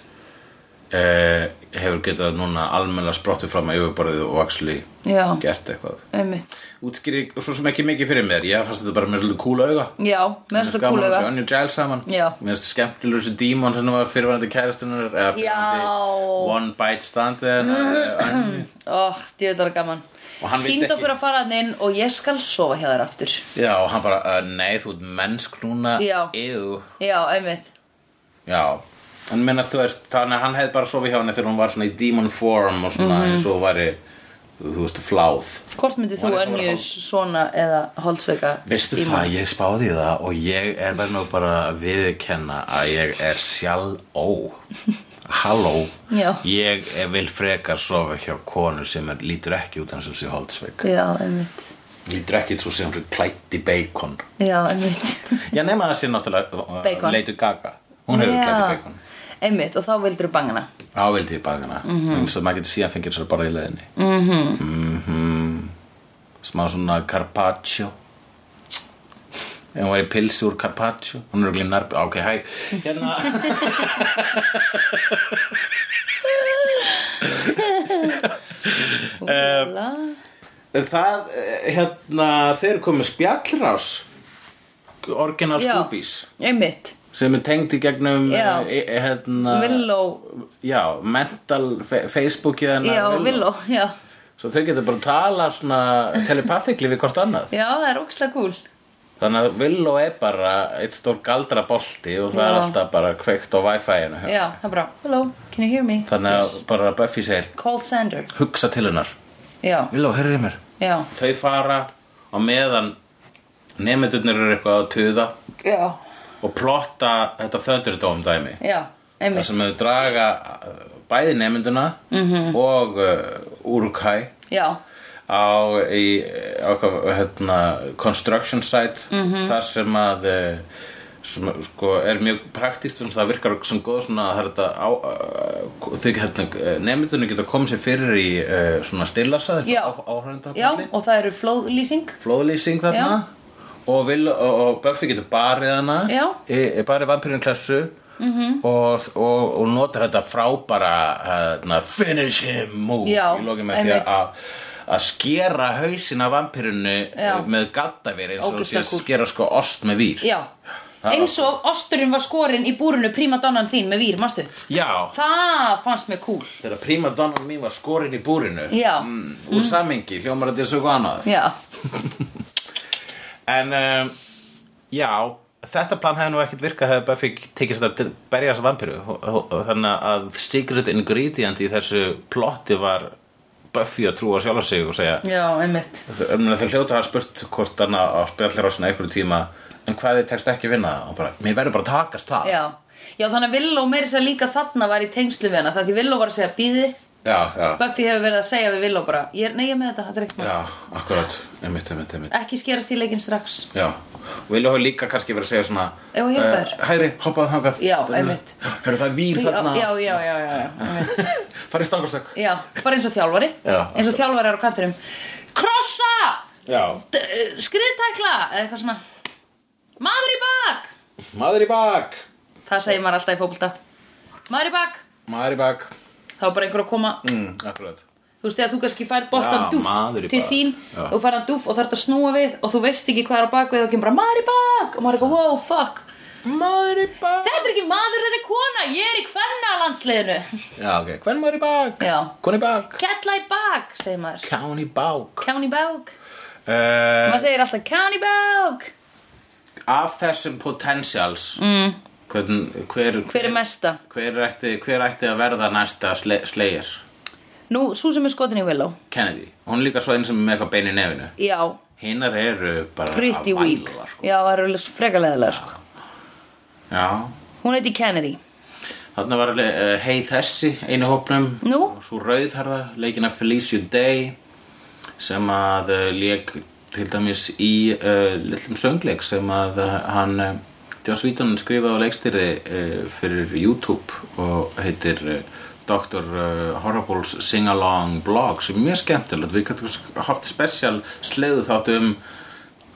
[SPEAKER 2] eh, hefur getað núna almennlega sprottið fram að yfirborðið og actually
[SPEAKER 1] Já,
[SPEAKER 2] gert eitthvað
[SPEAKER 1] einmitt.
[SPEAKER 2] Útskýri svo sem ekki mikið fyrir mér ég fannst þetta bara með svolítið kúla auga
[SPEAKER 1] Já, með
[SPEAKER 2] Mér
[SPEAKER 1] þetta
[SPEAKER 2] finnst gaman
[SPEAKER 1] kúlega.
[SPEAKER 2] að þessu Önju Giles saman
[SPEAKER 1] Já.
[SPEAKER 2] Mér finnst skemmtilegur þessu dímon sem var fyrirvænandi kæristunar eða fyrirvænandi
[SPEAKER 1] Já.
[SPEAKER 2] One Bite Stand Önju
[SPEAKER 1] Óh, djöðlar gaman.
[SPEAKER 2] Og hann vildi
[SPEAKER 1] Sýnd
[SPEAKER 2] ekki-
[SPEAKER 1] okkur að fara hann inn og ég skal sofa hjá þér aftur.
[SPEAKER 2] Já og hann bara uh, Nei þú ert mennsk núna
[SPEAKER 1] Já.
[SPEAKER 2] Ew
[SPEAKER 1] Já, einmitt.
[SPEAKER 2] Já En menna þú veist Þannig að hann hefði bara sofið hjá henni þegar hún var svona í demon form og
[SPEAKER 1] Mhm.
[SPEAKER 2] svona eins og væri þú þú veist fláð
[SPEAKER 1] Hvort myndir þú
[SPEAKER 2] Var ég þá að vera
[SPEAKER 1] önnjus svona eða holdsveika?
[SPEAKER 2] Veistu
[SPEAKER 1] í mann?
[SPEAKER 2] það, ég spáði í það og ég er verið nú bara að viðkenna að ég er sjálf ó Halló
[SPEAKER 1] Já.
[SPEAKER 2] Ég vil frekar sofa hjá konu sem er, lítur ekki út eins og sé holdsveik
[SPEAKER 1] Já, einmitt.
[SPEAKER 2] Lítur ekki út svo sem hún klætt í bacon
[SPEAKER 1] Já, einmitt.
[SPEAKER 2] Já, nema það sé náttúrulega
[SPEAKER 1] Bacon.
[SPEAKER 2] Leitur gaga, hún hefur klætt í
[SPEAKER 1] Já.
[SPEAKER 2] bacon
[SPEAKER 1] Einmitt, og þá vildur þú bangana.
[SPEAKER 2] Á vildi í bakana mm
[SPEAKER 1] Mhm.
[SPEAKER 2] -hmm. eins og maður getur síðan fengið sér bara í leiðinni mm Smá svona carpaccio Ef hún var í pilsi úr carpaccio Hún er örugglega í nærbi, ok, hæ Hérna Eh,
[SPEAKER 1] Úla.
[SPEAKER 2] Það, eh, hérna, þeir eru komið spjallrás Orginal
[SPEAKER 1] Já.
[SPEAKER 2] Scoobies
[SPEAKER 1] Einmitt.
[SPEAKER 2] sem er tengd í gegnum
[SPEAKER 1] Já.
[SPEAKER 2] eh, eh, hérna,
[SPEAKER 1] Villó.
[SPEAKER 2] já, mental fe- Facebookið hennar
[SPEAKER 1] Já,
[SPEAKER 2] Villó.
[SPEAKER 1] villó. Já.
[SPEAKER 2] Svo þau getur bara að tala svona telepathically við hvort annað
[SPEAKER 1] Já, það er ókslega gúl.
[SPEAKER 2] Þannig að Villó er bara eitt stór galdra bolti og það er
[SPEAKER 1] Já.
[SPEAKER 2] alltaf bara kveikt á Wi-Fi-inu. hjá-
[SPEAKER 1] Já, það er bara, hello, can you hear me?
[SPEAKER 2] Þannig að bara Buffy segir,
[SPEAKER 1] Call Sander.
[SPEAKER 2] hugsa til hennar.
[SPEAKER 1] Já,
[SPEAKER 2] Villó, hörðu í mér.
[SPEAKER 1] já.
[SPEAKER 2] Þau fara á meðan nemyndurnir eru eitthvað að tuða
[SPEAKER 1] Já.
[SPEAKER 2] og plotta þetta þöndurdóm dæmi.
[SPEAKER 1] Já,
[SPEAKER 2] Þar
[SPEAKER 1] einmitt.
[SPEAKER 2] sem þau
[SPEAKER 1] Mhm.
[SPEAKER 2] draga uh, bæði nemynduna og uh, Urkai
[SPEAKER 1] Já,
[SPEAKER 2] á, í, á hvað, hérna, construction site
[SPEAKER 1] Mhm.
[SPEAKER 2] þar sem að eh, sem, að, sko, er mjög praktíst þannig að það virkar sem góð svona það er þetta á, uh, þau hérna, nefndunni geta komið sér fyrir í uh, svona stillasa
[SPEAKER 1] Já.
[SPEAKER 2] áhrænda
[SPEAKER 1] Já, og það eru flóðlýsing
[SPEAKER 2] flóðlýsing þarna og, vil, og, og Buffy getur barið hana
[SPEAKER 1] Já. Mhm.
[SPEAKER 2] e, barið vampirinn klassu -hmm. og, og, og notar þetta frábara hérna, finish him move
[SPEAKER 1] Já,
[SPEAKER 2] í lokin með því
[SPEAKER 1] einmitt.
[SPEAKER 2] að að skera hausinn af vampirinu
[SPEAKER 1] Já.
[SPEAKER 2] með gattavir eins og sé
[SPEAKER 1] Ógeðslega
[SPEAKER 2] að
[SPEAKER 1] kúl.
[SPEAKER 2] skera sko ost með vír
[SPEAKER 1] Já, eins og osturinn var skorinn í búrinu primadonnan þín með vír, mástu
[SPEAKER 2] Já,
[SPEAKER 1] Það fannst mér cool
[SPEAKER 2] þegar príma donnan mín var skorinn í búrinu
[SPEAKER 1] Já.
[SPEAKER 2] mm, úr samengi, hljómar þetta er svo hvað annað
[SPEAKER 1] Já,
[SPEAKER 2] En um, já, þetta plan hefði nú ekkert virkað hefði Buffy tekist þetta til berja þessa vampiru þannig að secret ingredient í þessu plotti var Buffy að trúa sjálf sig og segja
[SPEAKER 1] já, einmitt
[SPEAKER 2] Ég meina, þau hljóta að hafa spurt hvort hann á spjallirásinu einhverju tíma en hvað þið tekst ekki að vinna og bara, mér verður bara að takast það
[SPEAKER 1] Já, já þannig að Villó meiri sér líka þarna var í tengslu við hana Það því Villó var að segja bíði
[SPEAKER 2] já, já,
[SPEAKER 1] Buffy hefur verið að segja við Villó bara Ég er neyja með þetta, þetta er ekkert mál.
[SPEAKER 2] já akkurat einmitt, einmitt, einmitt
[SPEAKER 1] Ekki skerast í leikinn strax
[SPEAKER 2] Já, og vilja hafa líka kannski verið að segja svona
[SPEAKER 1] Já, og hjálpa þér.
[SPEAKER 2] eh, Hæri, hoppaðu þangað
[SPEAKER 1] Já, einmitt.
[SPEAKER 2] Hörðu það er vír
[SPEAKER 1] Já,
[SPEAKER 2] þarna
[SPEAKER 1] já, já, já, já, já, einmitt.
[SPEAKER 2] Farið stangastökk
[SPEAKER 1] já Bara eins og þjálfari
[SPEAKER 2] Já.
[SPEAKER 1] Eins og þjálfari er á kantinum Krossa!
[SPEAKER 2] Já,
[SPEAKER 1] D- eh, Skriðtækla! Eða eitthvað svona Maður í bak!
[SPEAKER 2] maður í bak
[SPEAKER 1] Það segir maður alltaf í fótbolta Maður í bak
[SPEAKER 2] Maður í bak
[SPEAKER 1] Þá er bara einhver að koma
[SPEAKER 2] mm, Akkurat
[SPEAKER 1] Þú veist þegar þú kannski fær boltan
[SPEAKER 2] Já, maður í
[SPEAKER 1] dúf til
[SPEAKER 2] bak.
[SPEAKER 1] þín
[SPEAKER 2] Já.
[SPEAKER 1] og fær hann dúf og þarf að snúa við og þú veist ekki hvað er á baku og þú kemur bara maður í bak og maður er eitthvað wow fuck
[SPEAKER 2] Maður í bak
[SPEAKER 1] Þetta er ekki maður þetta er kona ég er í kvenna landsliðinu
[SPEAKER 2] Já, ok, hvern maður í bak?
[SPEAKER 1] Já.
[SPEAKER 2] Hvern í bak?
[SPEAKER 1] Kella í bak segir maður
[SPEAKER 2] Kán í bak
[SPEAKER 1] Kjáni bák
[SPEAKER 2] uh,
[SPEAKER 1] Maður segir alltaf kjáni bák
[SPEAKER 2] Af þessum potentials mm. hvern, hver,
[SPEAKER 1] Hver er mesta?
[SPEAKER 2] Hver ætti, hver ætti að verða næsta sle, slegir?
[SPEAKER 1] Nú, sú sem er skotin í Willow
[SPEAKER 2] Kennedy Hún er líka svo einn sem er með eitthvað bein í nefinu
[SPEAKER 1] Já,
[SPEAKER 2] Hinnar eru bara
[SPEAKER 1] pretty
[SPEAKER 2] að
[SPEAKER 1] weak
[SPEAKER 2] væla, sko.
[SPEAKER 1] Já, það eru frekalegðilega sko
[SPEAKER 2] Já
[SPEAKER 1] Hún heiti Kennedy
[SPEAKER 2] Þarna var uh, hei þessi einu hópnum
[SPEAKER 1] Nú?
[SPEAKER 2] Svo rauðharða, leikina Felicia Day sem að uh, leik til dæmis í uh, lillum söngleik sem að uh, hann uh, Joss Whedon skrifaði á leikstyrði uh, fyrir YouTube og heitir uh, Dr. Uh, Horrible's Sing-Along Blog sem er mjög skemmtilegt við gætum haft spesial sleðu þátt um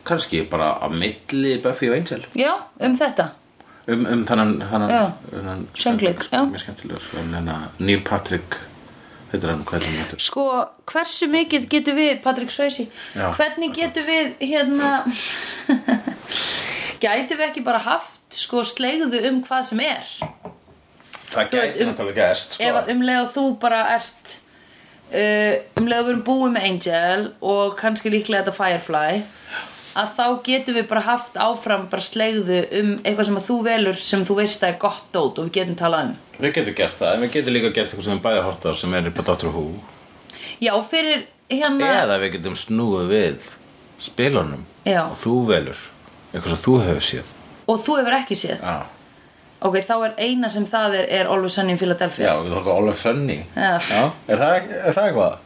[SPEAKER 2] kannski bara á milli Buffy og Angel
[SPEAKER 1] Já, um þetta
[SPEAKER 2] um, um þannan, þannan,
[SPEAKER 1] Já.
[SPEAKER 2] þannan
[SPEAKER 1] Söngleik, já.
[SPEAKER 2] mjög skemmtilegur en hérna Neil Patrick heitir hann, hvað er hann heitir
[SPEAKER 1] Sko, hversu mikið getum við, Patrick Swayze,
[SPEAKER 2] Já.
[SPEAKER 1] hvernig getum við, hérna, gætum við ekki bara haft, sko, slegðu um hvað sem er?
[SPEAKER 2] Sko. það
[SPEAKER 1] Þú veist,
[SPEAKER 2] gæti
[SPEAKER 1] um-
[SPEAKER 2] náttúrulega gæst sko.
[SPEAKER 1] Ef um leið og þú bara ert, uh, um leið og við erum búið með Angel og kannski líklega þetta Firefly, að þá getum við bara haft áfram bara slegðu um eitthvað sem að þú velur sem þú veist að er gott dót og við getum talað um.
[SPEAKER 2] við getum gert það, en við getum líka gert eitthvað sem við bæði að horta á sem er bara Dr. Who
[SPEAKER 1] Já, fyrir hérna...
[SPEAKER 2] eða við getum snúið við spilunum
[SPEAKER 1] Já.
[SPEAKER 2] og þú velur eitthvað sem þú hefur séð
[SPEAKER 1] Og þú hefur ekki séð.
[SPEAKER 2] já,
[SPEAKER 1] Ok, þá er eina sem það er, er Always Sunny in Philadelphia.
[SPEAKER 2] já við getum horta á Oliver Sunny
[SPEAKER 1] Já.
[SPEAKER 2] er það, er það eitthvað?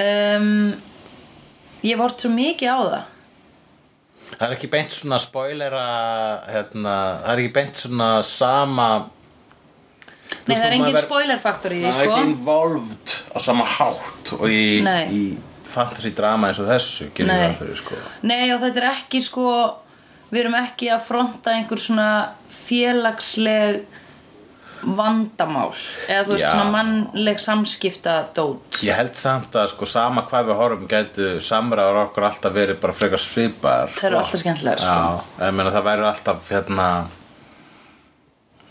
[SPEAKER 1] Um, ég hef hort svo mikið á það.
[SPEAKER 2] Það er ekki beint svona spoilera hérna, það er ekki beint svona sama
[SPEAKER 1] Nei, það er
[SPEAKER 2] þú,
[SPEAKER 1] engin
[SPEAKER 2] maður-
[SPEAKER 1] spoiler faktor í því,
[SPEAKER 2] Það er
[SPEAKER 1] sko.
[SPEAKER 2] ekki involved á sama hátt og í,
[SPEAKER 1] Nei.
[SPEAKER 2] í fantasy drama eins og þessu gerir
[SPEAKER 1] Nei.
[SPEAKER 2] það fyrir sko
[SPEAKER 1] Nei, og þetta er ekki, sko, við erum ekki að fronta einhver svona félagsleg vandamál. Eða þú veist,
[SPEAKER 2] Já.
[SPEAKER 1] svona mannleg samskipta dót.
[SPEAKER 2] Ég held samt að sko sama hvað við horfum gætu samræður okkur alltaf verið bara frekar svipaðar
[SPEAKER 1] Það eru alltaf skemmtilegar, sko.
[SPEAKER 2] Já, ég meina það væri alltaf hérna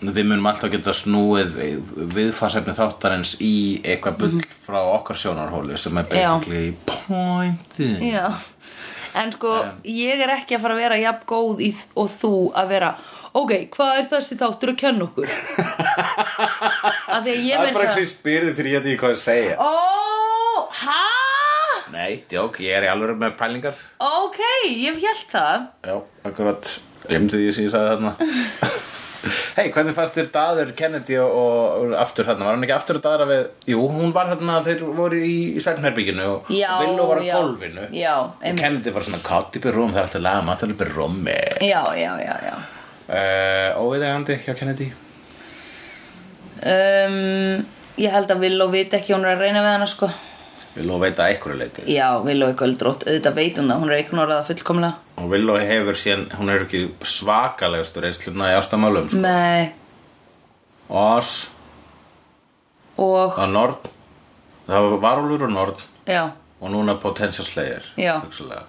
[SPEAKER 2] við munum alltaf geta snúið viðfarsefni þáttarins í eitthvað bull
[SPEAKER 1] Mhm.
[SPEAKER 2] frá okkar sjónarhóli sem er basically pointið
[SPEAKER 1] Já. En sko, ég er ekki að fara að vera jafn góð í, og þú að vera Ok, hvað er þessi þáttur að kenna okkur? að því að ég meins að
[SPEAKER 2] spyrðið fyrir ég þetta í hvað að segja
[SPEAKER 1] Ó, hæ?
[SPEAKER 2] Nei, djók, ég er í alveg með pælingar
[SPEAKER 1] Ok, ég hef hjælt það
[SPEAKER 2] Já, akkurat Glemdi því sem ég sagði þarna Hei, hvernig fannst þér daður Kennedy og, og aftur þarna? Var hann ekki aftur að daðra við? Jú, hún var þarna þeir voru í, í svefnherbygginu og
[SPEAKER 1] Já,
[SPEAKER 2] Villó var á
[SPEAKER 1] já.
[SPEAKER 2] gólfinu
[SPEAKER 1] Já,
[SPEAKER 2] og
[SPEAKER 1] einmitt.
[SPEAKER 2] Kennedy var svona kátt í byrjum, það er alltaf laga maður í byrjum uh,
[SPEAKER 1] já, já, já, já.
[SPEAKER 2] Óviðegandi Eh, hjá Kennedy
[SPEAKER 1] Um, ég held að Villó viti ekki að hún er að reyna við hana sko
[SPEAKER 2] Villó veit að einhverju leiti
[SPEAKER 1] Já, Villó er göldrótt, auðvitað veit hún það, hún er ignoraða fullkomlega
[SPEAKER 2] og Villó hefur síðan, hún er ekki svakalegustu reynsluna í ástamálum
[SPEAKER 1] Mm.
[SPEAKER 2] sko.
[SPEAKER 1] Nei,
[SPEAKER 2] Oss,
[SPEAKER 1] og,
[SPEAKER 2] það var Nord það var Varúlur og Nord
[SPEAKER 1] já,
[SPEAKER 2] og núna Potential Slayer
[SPEAKER 1] Já.
[SPEAKER 2] hugsanlega.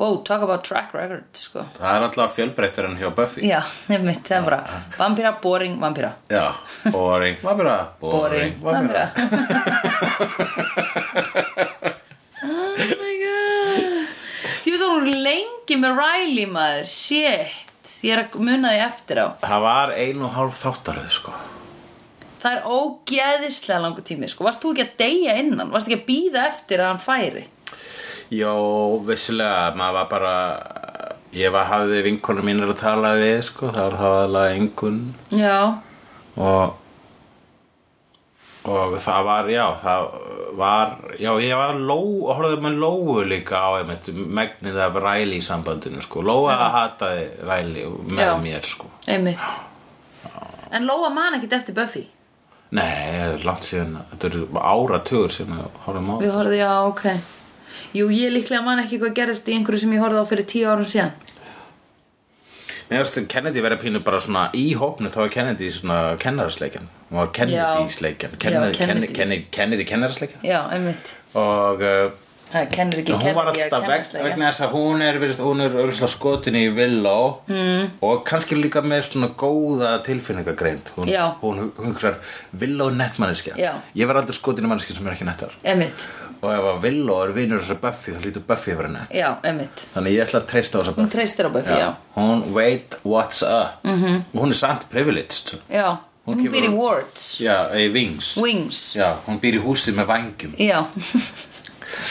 [SPEAKER 1] wow, talk about track record sko
[SPEAKER 2] það er alltaf fjölbreyttur en hjá Buffy
[SPEAKER 1] Já, einmitt, það er bara Vampíra, boring, vampíra
[SPEAKER 2] Já, boring, vampira, boring,
[SPEAKER 1] Boring,
[SPEAKER 2] vampira
[SPEAKER 1] vampíra Oh my god Ég veit að hún er lengi með Riley maður Shit, ég er að muna því eftir á
[SPEAKER 2] Það var ein og hálf þáttaröð, sko
[SPEAKER 1] Það er ógeðislega langur tími sko. Varst þú ekki að deyja innan? Varst ekki að býða eftir að hann færi?
[SPEAKER 2] Jó, vissulega, maður var bara Ég var hafði vinkonu mínir að tala við, sko Það var hafðalega engun
[SPEAKER 1] Já,
[SPEAKER 2] Og Og það var, já, það var Já, ég var lóu, horfði með lóu líka á einmitt Megnið af ræli í sambandinu, sko Lóa hataði ræli með
[SPEAKER 1] Já.
[SPEAKER 2] mér, sko
[SPEAKER 1] einmitt En Lóa man ekkit eftir Buffy
[SPEAKER 2] Nei, það er langt síðan, þetta eru áratugur síðan að horfum á
[SPEAKER 1] Við horfðum, já, ok Jú, ég líklega man ekki hvað gerðist í einhverju sem ég horfði á fyrir tíu árum síðan
[SPEAKER 2] Mér finnst Kennedy verið pínu bara svona í hópnu þá var Kennedy svona kennarasleikjan hún var Kennedy sleikjan Kennedy,
[SPEAKER 1] Já, Kennedy.
[SPEAKER 2] Kennedy. Kennedy, Kennedy kennarasleikjan
[SPEAKER 1] Já, einmitt
[SPEAKER 2] og uh,
[SPEAKER 1] Það kennir ekki
[SPEAKER 2] hún var
[SPEAKER 1] kennir ekki að
[SPEAKER 2] alltaf veg,
[SPEAKER 1] kennsleika.
[SPEAKER 2] vegna þess að hún er, virðist, hún er örugglega skotin í villó mm. og kannski líka með svona góða tilfinningagreind hún,
[SPEAKER 1] Já.
[SPEAKER 2] hún hu- hugsar villó nettmanneskja
[SPEAKER 1] Já.
[SPEAKER 2] ég var aldrei skotin í manneskja sem er ekki nettar
[SPEAKER 1] Einmitt,
[SPEAKER 2] og ef að villó er vinur þessar Buffy þá lítur Buffy að vera nett
[SPEAKER 1] já, einmitt
[SPEAKER 2] þannig ég ætla að treysta á þessar
[SPEAKER 1] Hún
[SPEAKER 2] Buffy
[SPEAKER 1] treystir á Buffy, já Mhm.
[SPEAKER 2] hún veit what's up mm -hmm. hún er samt privileged
[SPEAKER 1] Já,
[SPEAKER 2] Hún
[SPEAKER 1] hún
[SPEAKER 2] kemur-
[SPEAKER 1] býr í Wards
[SPEAKER 2] Já, í Wings
[SPEAKER 1] Wings
[SPEAKER 2] Já, hún býr í húsi með vangjum
[SPEAKER 1] Já,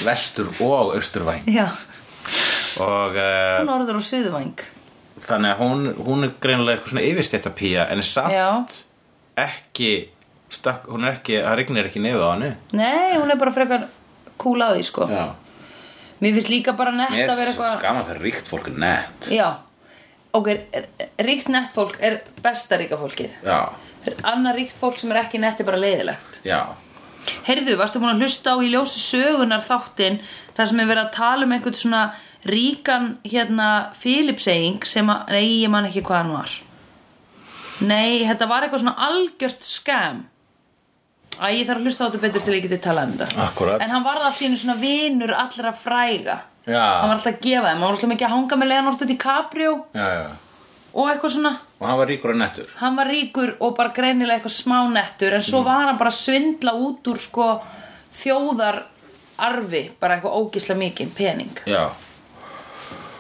[SPEAKER 2] Vestur og austurvæng
[SPEAKER 1] já
[SPEAKER 2] Og uh,
[SPEAKER 1] Hún orður á Suðvæng
[SPEAKER 2] þannig að hún, hún er greinilega eitthvað svona yfirstætta pía En er samt
[SPEAKER 1] Já.
[SPEAKER 2] ekki stakk, Hún er ekki, það rignir ekki nefðu á henni
[SPEAKER 1] Nei, hún er bara frekar cool á því, sko
[SPEAKER 2] Já
[SPEAKER 1] Mér finnst líka bara nett
[SPEAKER 2] Mér
[SPEAKER 1] að vera
[SPEAKER 2] er svo
[SPEAKER 1] eitthvað
[SPEAKER 2] skaman það ríkt fólk er nett
[SPEAKER 1] Já, ok, er- er- ríkt nett fólk er besta ríka fólkið
[SPEAKER 2] Já,
[SPEAKER 1] Annar ríkt fólk sem er ekki nett er bara leiðilegt
[SPEAKER 2] já
[SPEAKER 1] Heyrðu, varstu búin að hlusta á í ljósi sögunar þáttinn þar sem er verið að tala um einhvern svona ríkan hérna Filipseying sem að, nei, ég man ekki hvað hann var Nei, þetta var eitthvað svona algjört skam Æ, ég þarf að hlusta á þetta betur til ég geti talað um þetta
[SPEAKER 2] Akkurat.
[SPEAKER 1] En hann varð allt í einu svona vinur allra fræga Hann
[SPEAKER 2] Já,
[SPEAKER 1] var alltaf að gefa þeim, hann var alltaf mikið að hanga með Leonardo DiCaprio
[SPEAKER 2] já, já
[SPEAKER 1] og eitthvað svona
[SPEAKER 2] Og hann var ríkur og nettur
[SPEAKER 1] hann var ríkur og bara greinilega eitthvað smánettur en svo var hann bara að svindla út úr sko þjóðararfi bara eitthvað ógisla mikið pening
[SPEAKER 2] Já,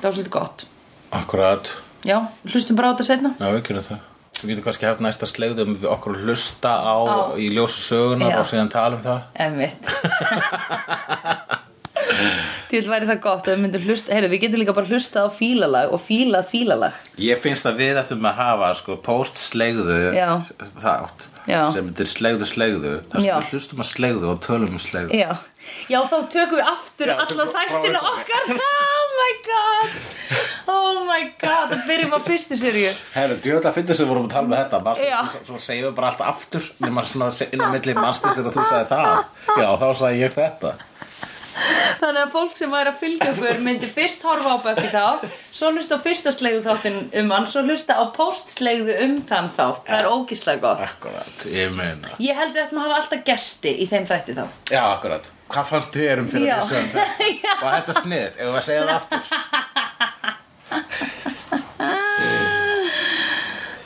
[SPEAKER 1] það var svolítið gott
[SPEAKER 2] akkurat
[SPEAKER 1] já, hlustum bara á þetta setna
[SPEAKER 2] Já, við gerum það Við getum kannski haft næsta slegðum við okkur að hlusta á,
[SPEAKER 1] Á.
[SPEAKER 2] í ljósu sögunar
[SPEAKER 1] Já.
[SPEAKER 2] og síðan tala um það
[SPEAKER 1] Emmitt Til væri það gott að við myndum hlusta Heyru, við getum líka bara hlusta á fílalag og fílað fílalag
[SPEAKER 2] Ég finnst að við ættum að hafa sko, post-slegðu
[SPEAKER 1] Já.
[SPEAKER 2] þátt
[SPEAKER 1] Já.
[SPEAKER 2] sem þetta er slegðu-slegðu þar sem
[SPEAKER 1] Já.
[SPEAKER 2] við hlustum að slegðu og tölum um slegðu
[SPEAKER 1] Já, já þá tökum við aftur
[SPEAKER 2] Já,
[SPEAKER 1] alla
[SPEAKER 2] tökum-
[SPEAKER 1] þættina
[SPEAKER 2] prófum-
[SPEAKER 1] okkar Oh my god Oh my god, það byrjum á fyrstu serju
[SPEAKER 2] Herru, djóðlega finnst þess að við vorum að tala með þetta manstu,
[SPEAKER 1] Já.
[SPEAKER 2] svo, svo segjum við bara allt aftur nema svona se- inn á milli manstu þegar þú sagði það Já, þá sagði ég þetta
[SPEAKER 1] Þannig að fólk sem væri að fylgja okkur myndi fyrst horfa á Buffy þá, svo hlusta á fyrsta slegðu þáttin um hann, svo hlusta á postslegðu um þann þátt. Það er ógíslega gott.
[SPEAKER 2] Akkurat, ég meina
[SPEAKER 1] Ég held við ættum að hafa alltaf gesti í þeim þætti þá.
[SPEAKER 2] Já, akkurat, hvað fannst þér um þegar
[SPEAKER 1] Já.
[SPEAKER 2] við sögum þetta?
[SPEAKER 1] Já.
[SPEAKER 2] Var þetta sniðið, ef við að segja það aftur?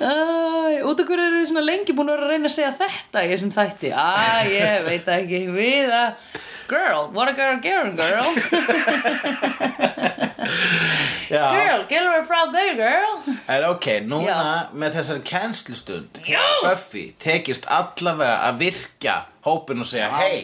[SPEAKER 1] Æ, út af hverju eru þið svona lengi búin að vera að reyna að segja þetta í þessum þætti? Æ, ég veit það ekki. Við að... Girl, what a girl, girl, girl.
[SPEAKER 2] Já,
[SPEAKER 1] Girl, girl, we're proud girl, girl.
[SPEAKER 2] En ok, núna
[SPEAKER 1] Já.
[SPEAKER 2] með þessar kennslustund Buffy tekist allavega að virkja hópin og segja hei,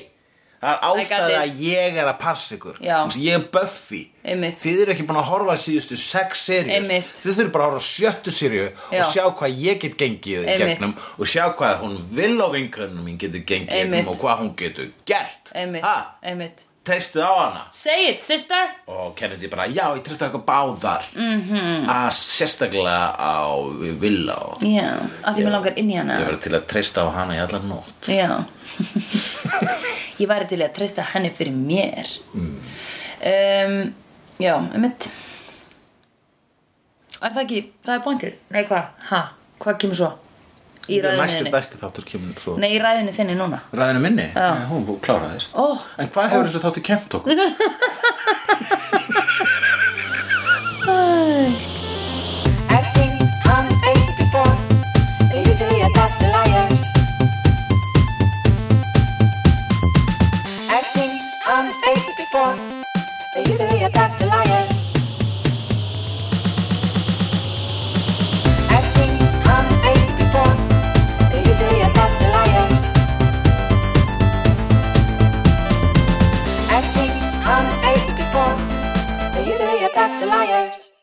[SPEAKER 2] Það er ástæða
[SPEAKER 1] I got
[SPEAKER 2] að ég er að passa ykkur
[SPEAKER 1] Já.
[SPEAKER 2] Þú veist, Ég er Buffy
[SPEAKER 1] Einmitt.
[SPEAKER 2] Þið eru ekki búin að horfa á síðustu sex serjur
[SPEAKER 1] Einmitt.
[SPEAKER 2] Þið þurfum bara að horfa á sjöttu serju
[SPEAKER 1] Já.
[SPEAKER 2] Og sjá hvað ég get gengið í
[SPEAKER 1] Einmitt.
[SPEAKER 2] gegnum Og sjá hvað hún vil á vingrunum mín getur gengið í
[SPEAKER 1] Einmitt.
[SPEAKER 2] gegnum Og hvað hún getur gert
[SPEAKER 1] einmitt,
[SPEAKER 2] Ha?
[SPEAKER 1] einmitt
[SPEAKER 2] Treystuð á hana
[SPEAKER 1] Say it, sister
[SPEAKER 2] og Kennedy bara, já, ég treysti okkur báðar -hmm.
[SPEAKER 1] Mhm.
[SPEAKER 2] að sérstaklega á Villa og
[SPEAKER 1] Já, af því mér langar inn í hana
[SPEAKER 2] ég verið til að treysta á hana í allar nótt
[SPEAKER 1] Já Ég væri til í að treysta henni fyrir mér Mm. um, Já, einmitt Er það ekki, það er pointur Nei, hvað, ha, hvað kemur svo? Í ræðinu
[SPEAKER 2] næsti
[SPEAKER 1] þinni
[SPEAKER 2] besti þáttur kemur svo
[SPEAKER 1] Nei, í ræðinu þinni núna
[SPEAKER 2] ræðinu minni, já. hún bú- kláraðist
[SPEAKER 1] Ó.
[SPEAKER 2] en hvað hefur þessu þáttur kempt okkur?
[SPEAKER 3] I've seen honest faces before. They're usually a pass to liars. I've seen honest faces before. They're usually a pass to liars. I've seen honest faces before. They're usually a pass to liars. I've seen honest faces before. They're usually a pass to liars.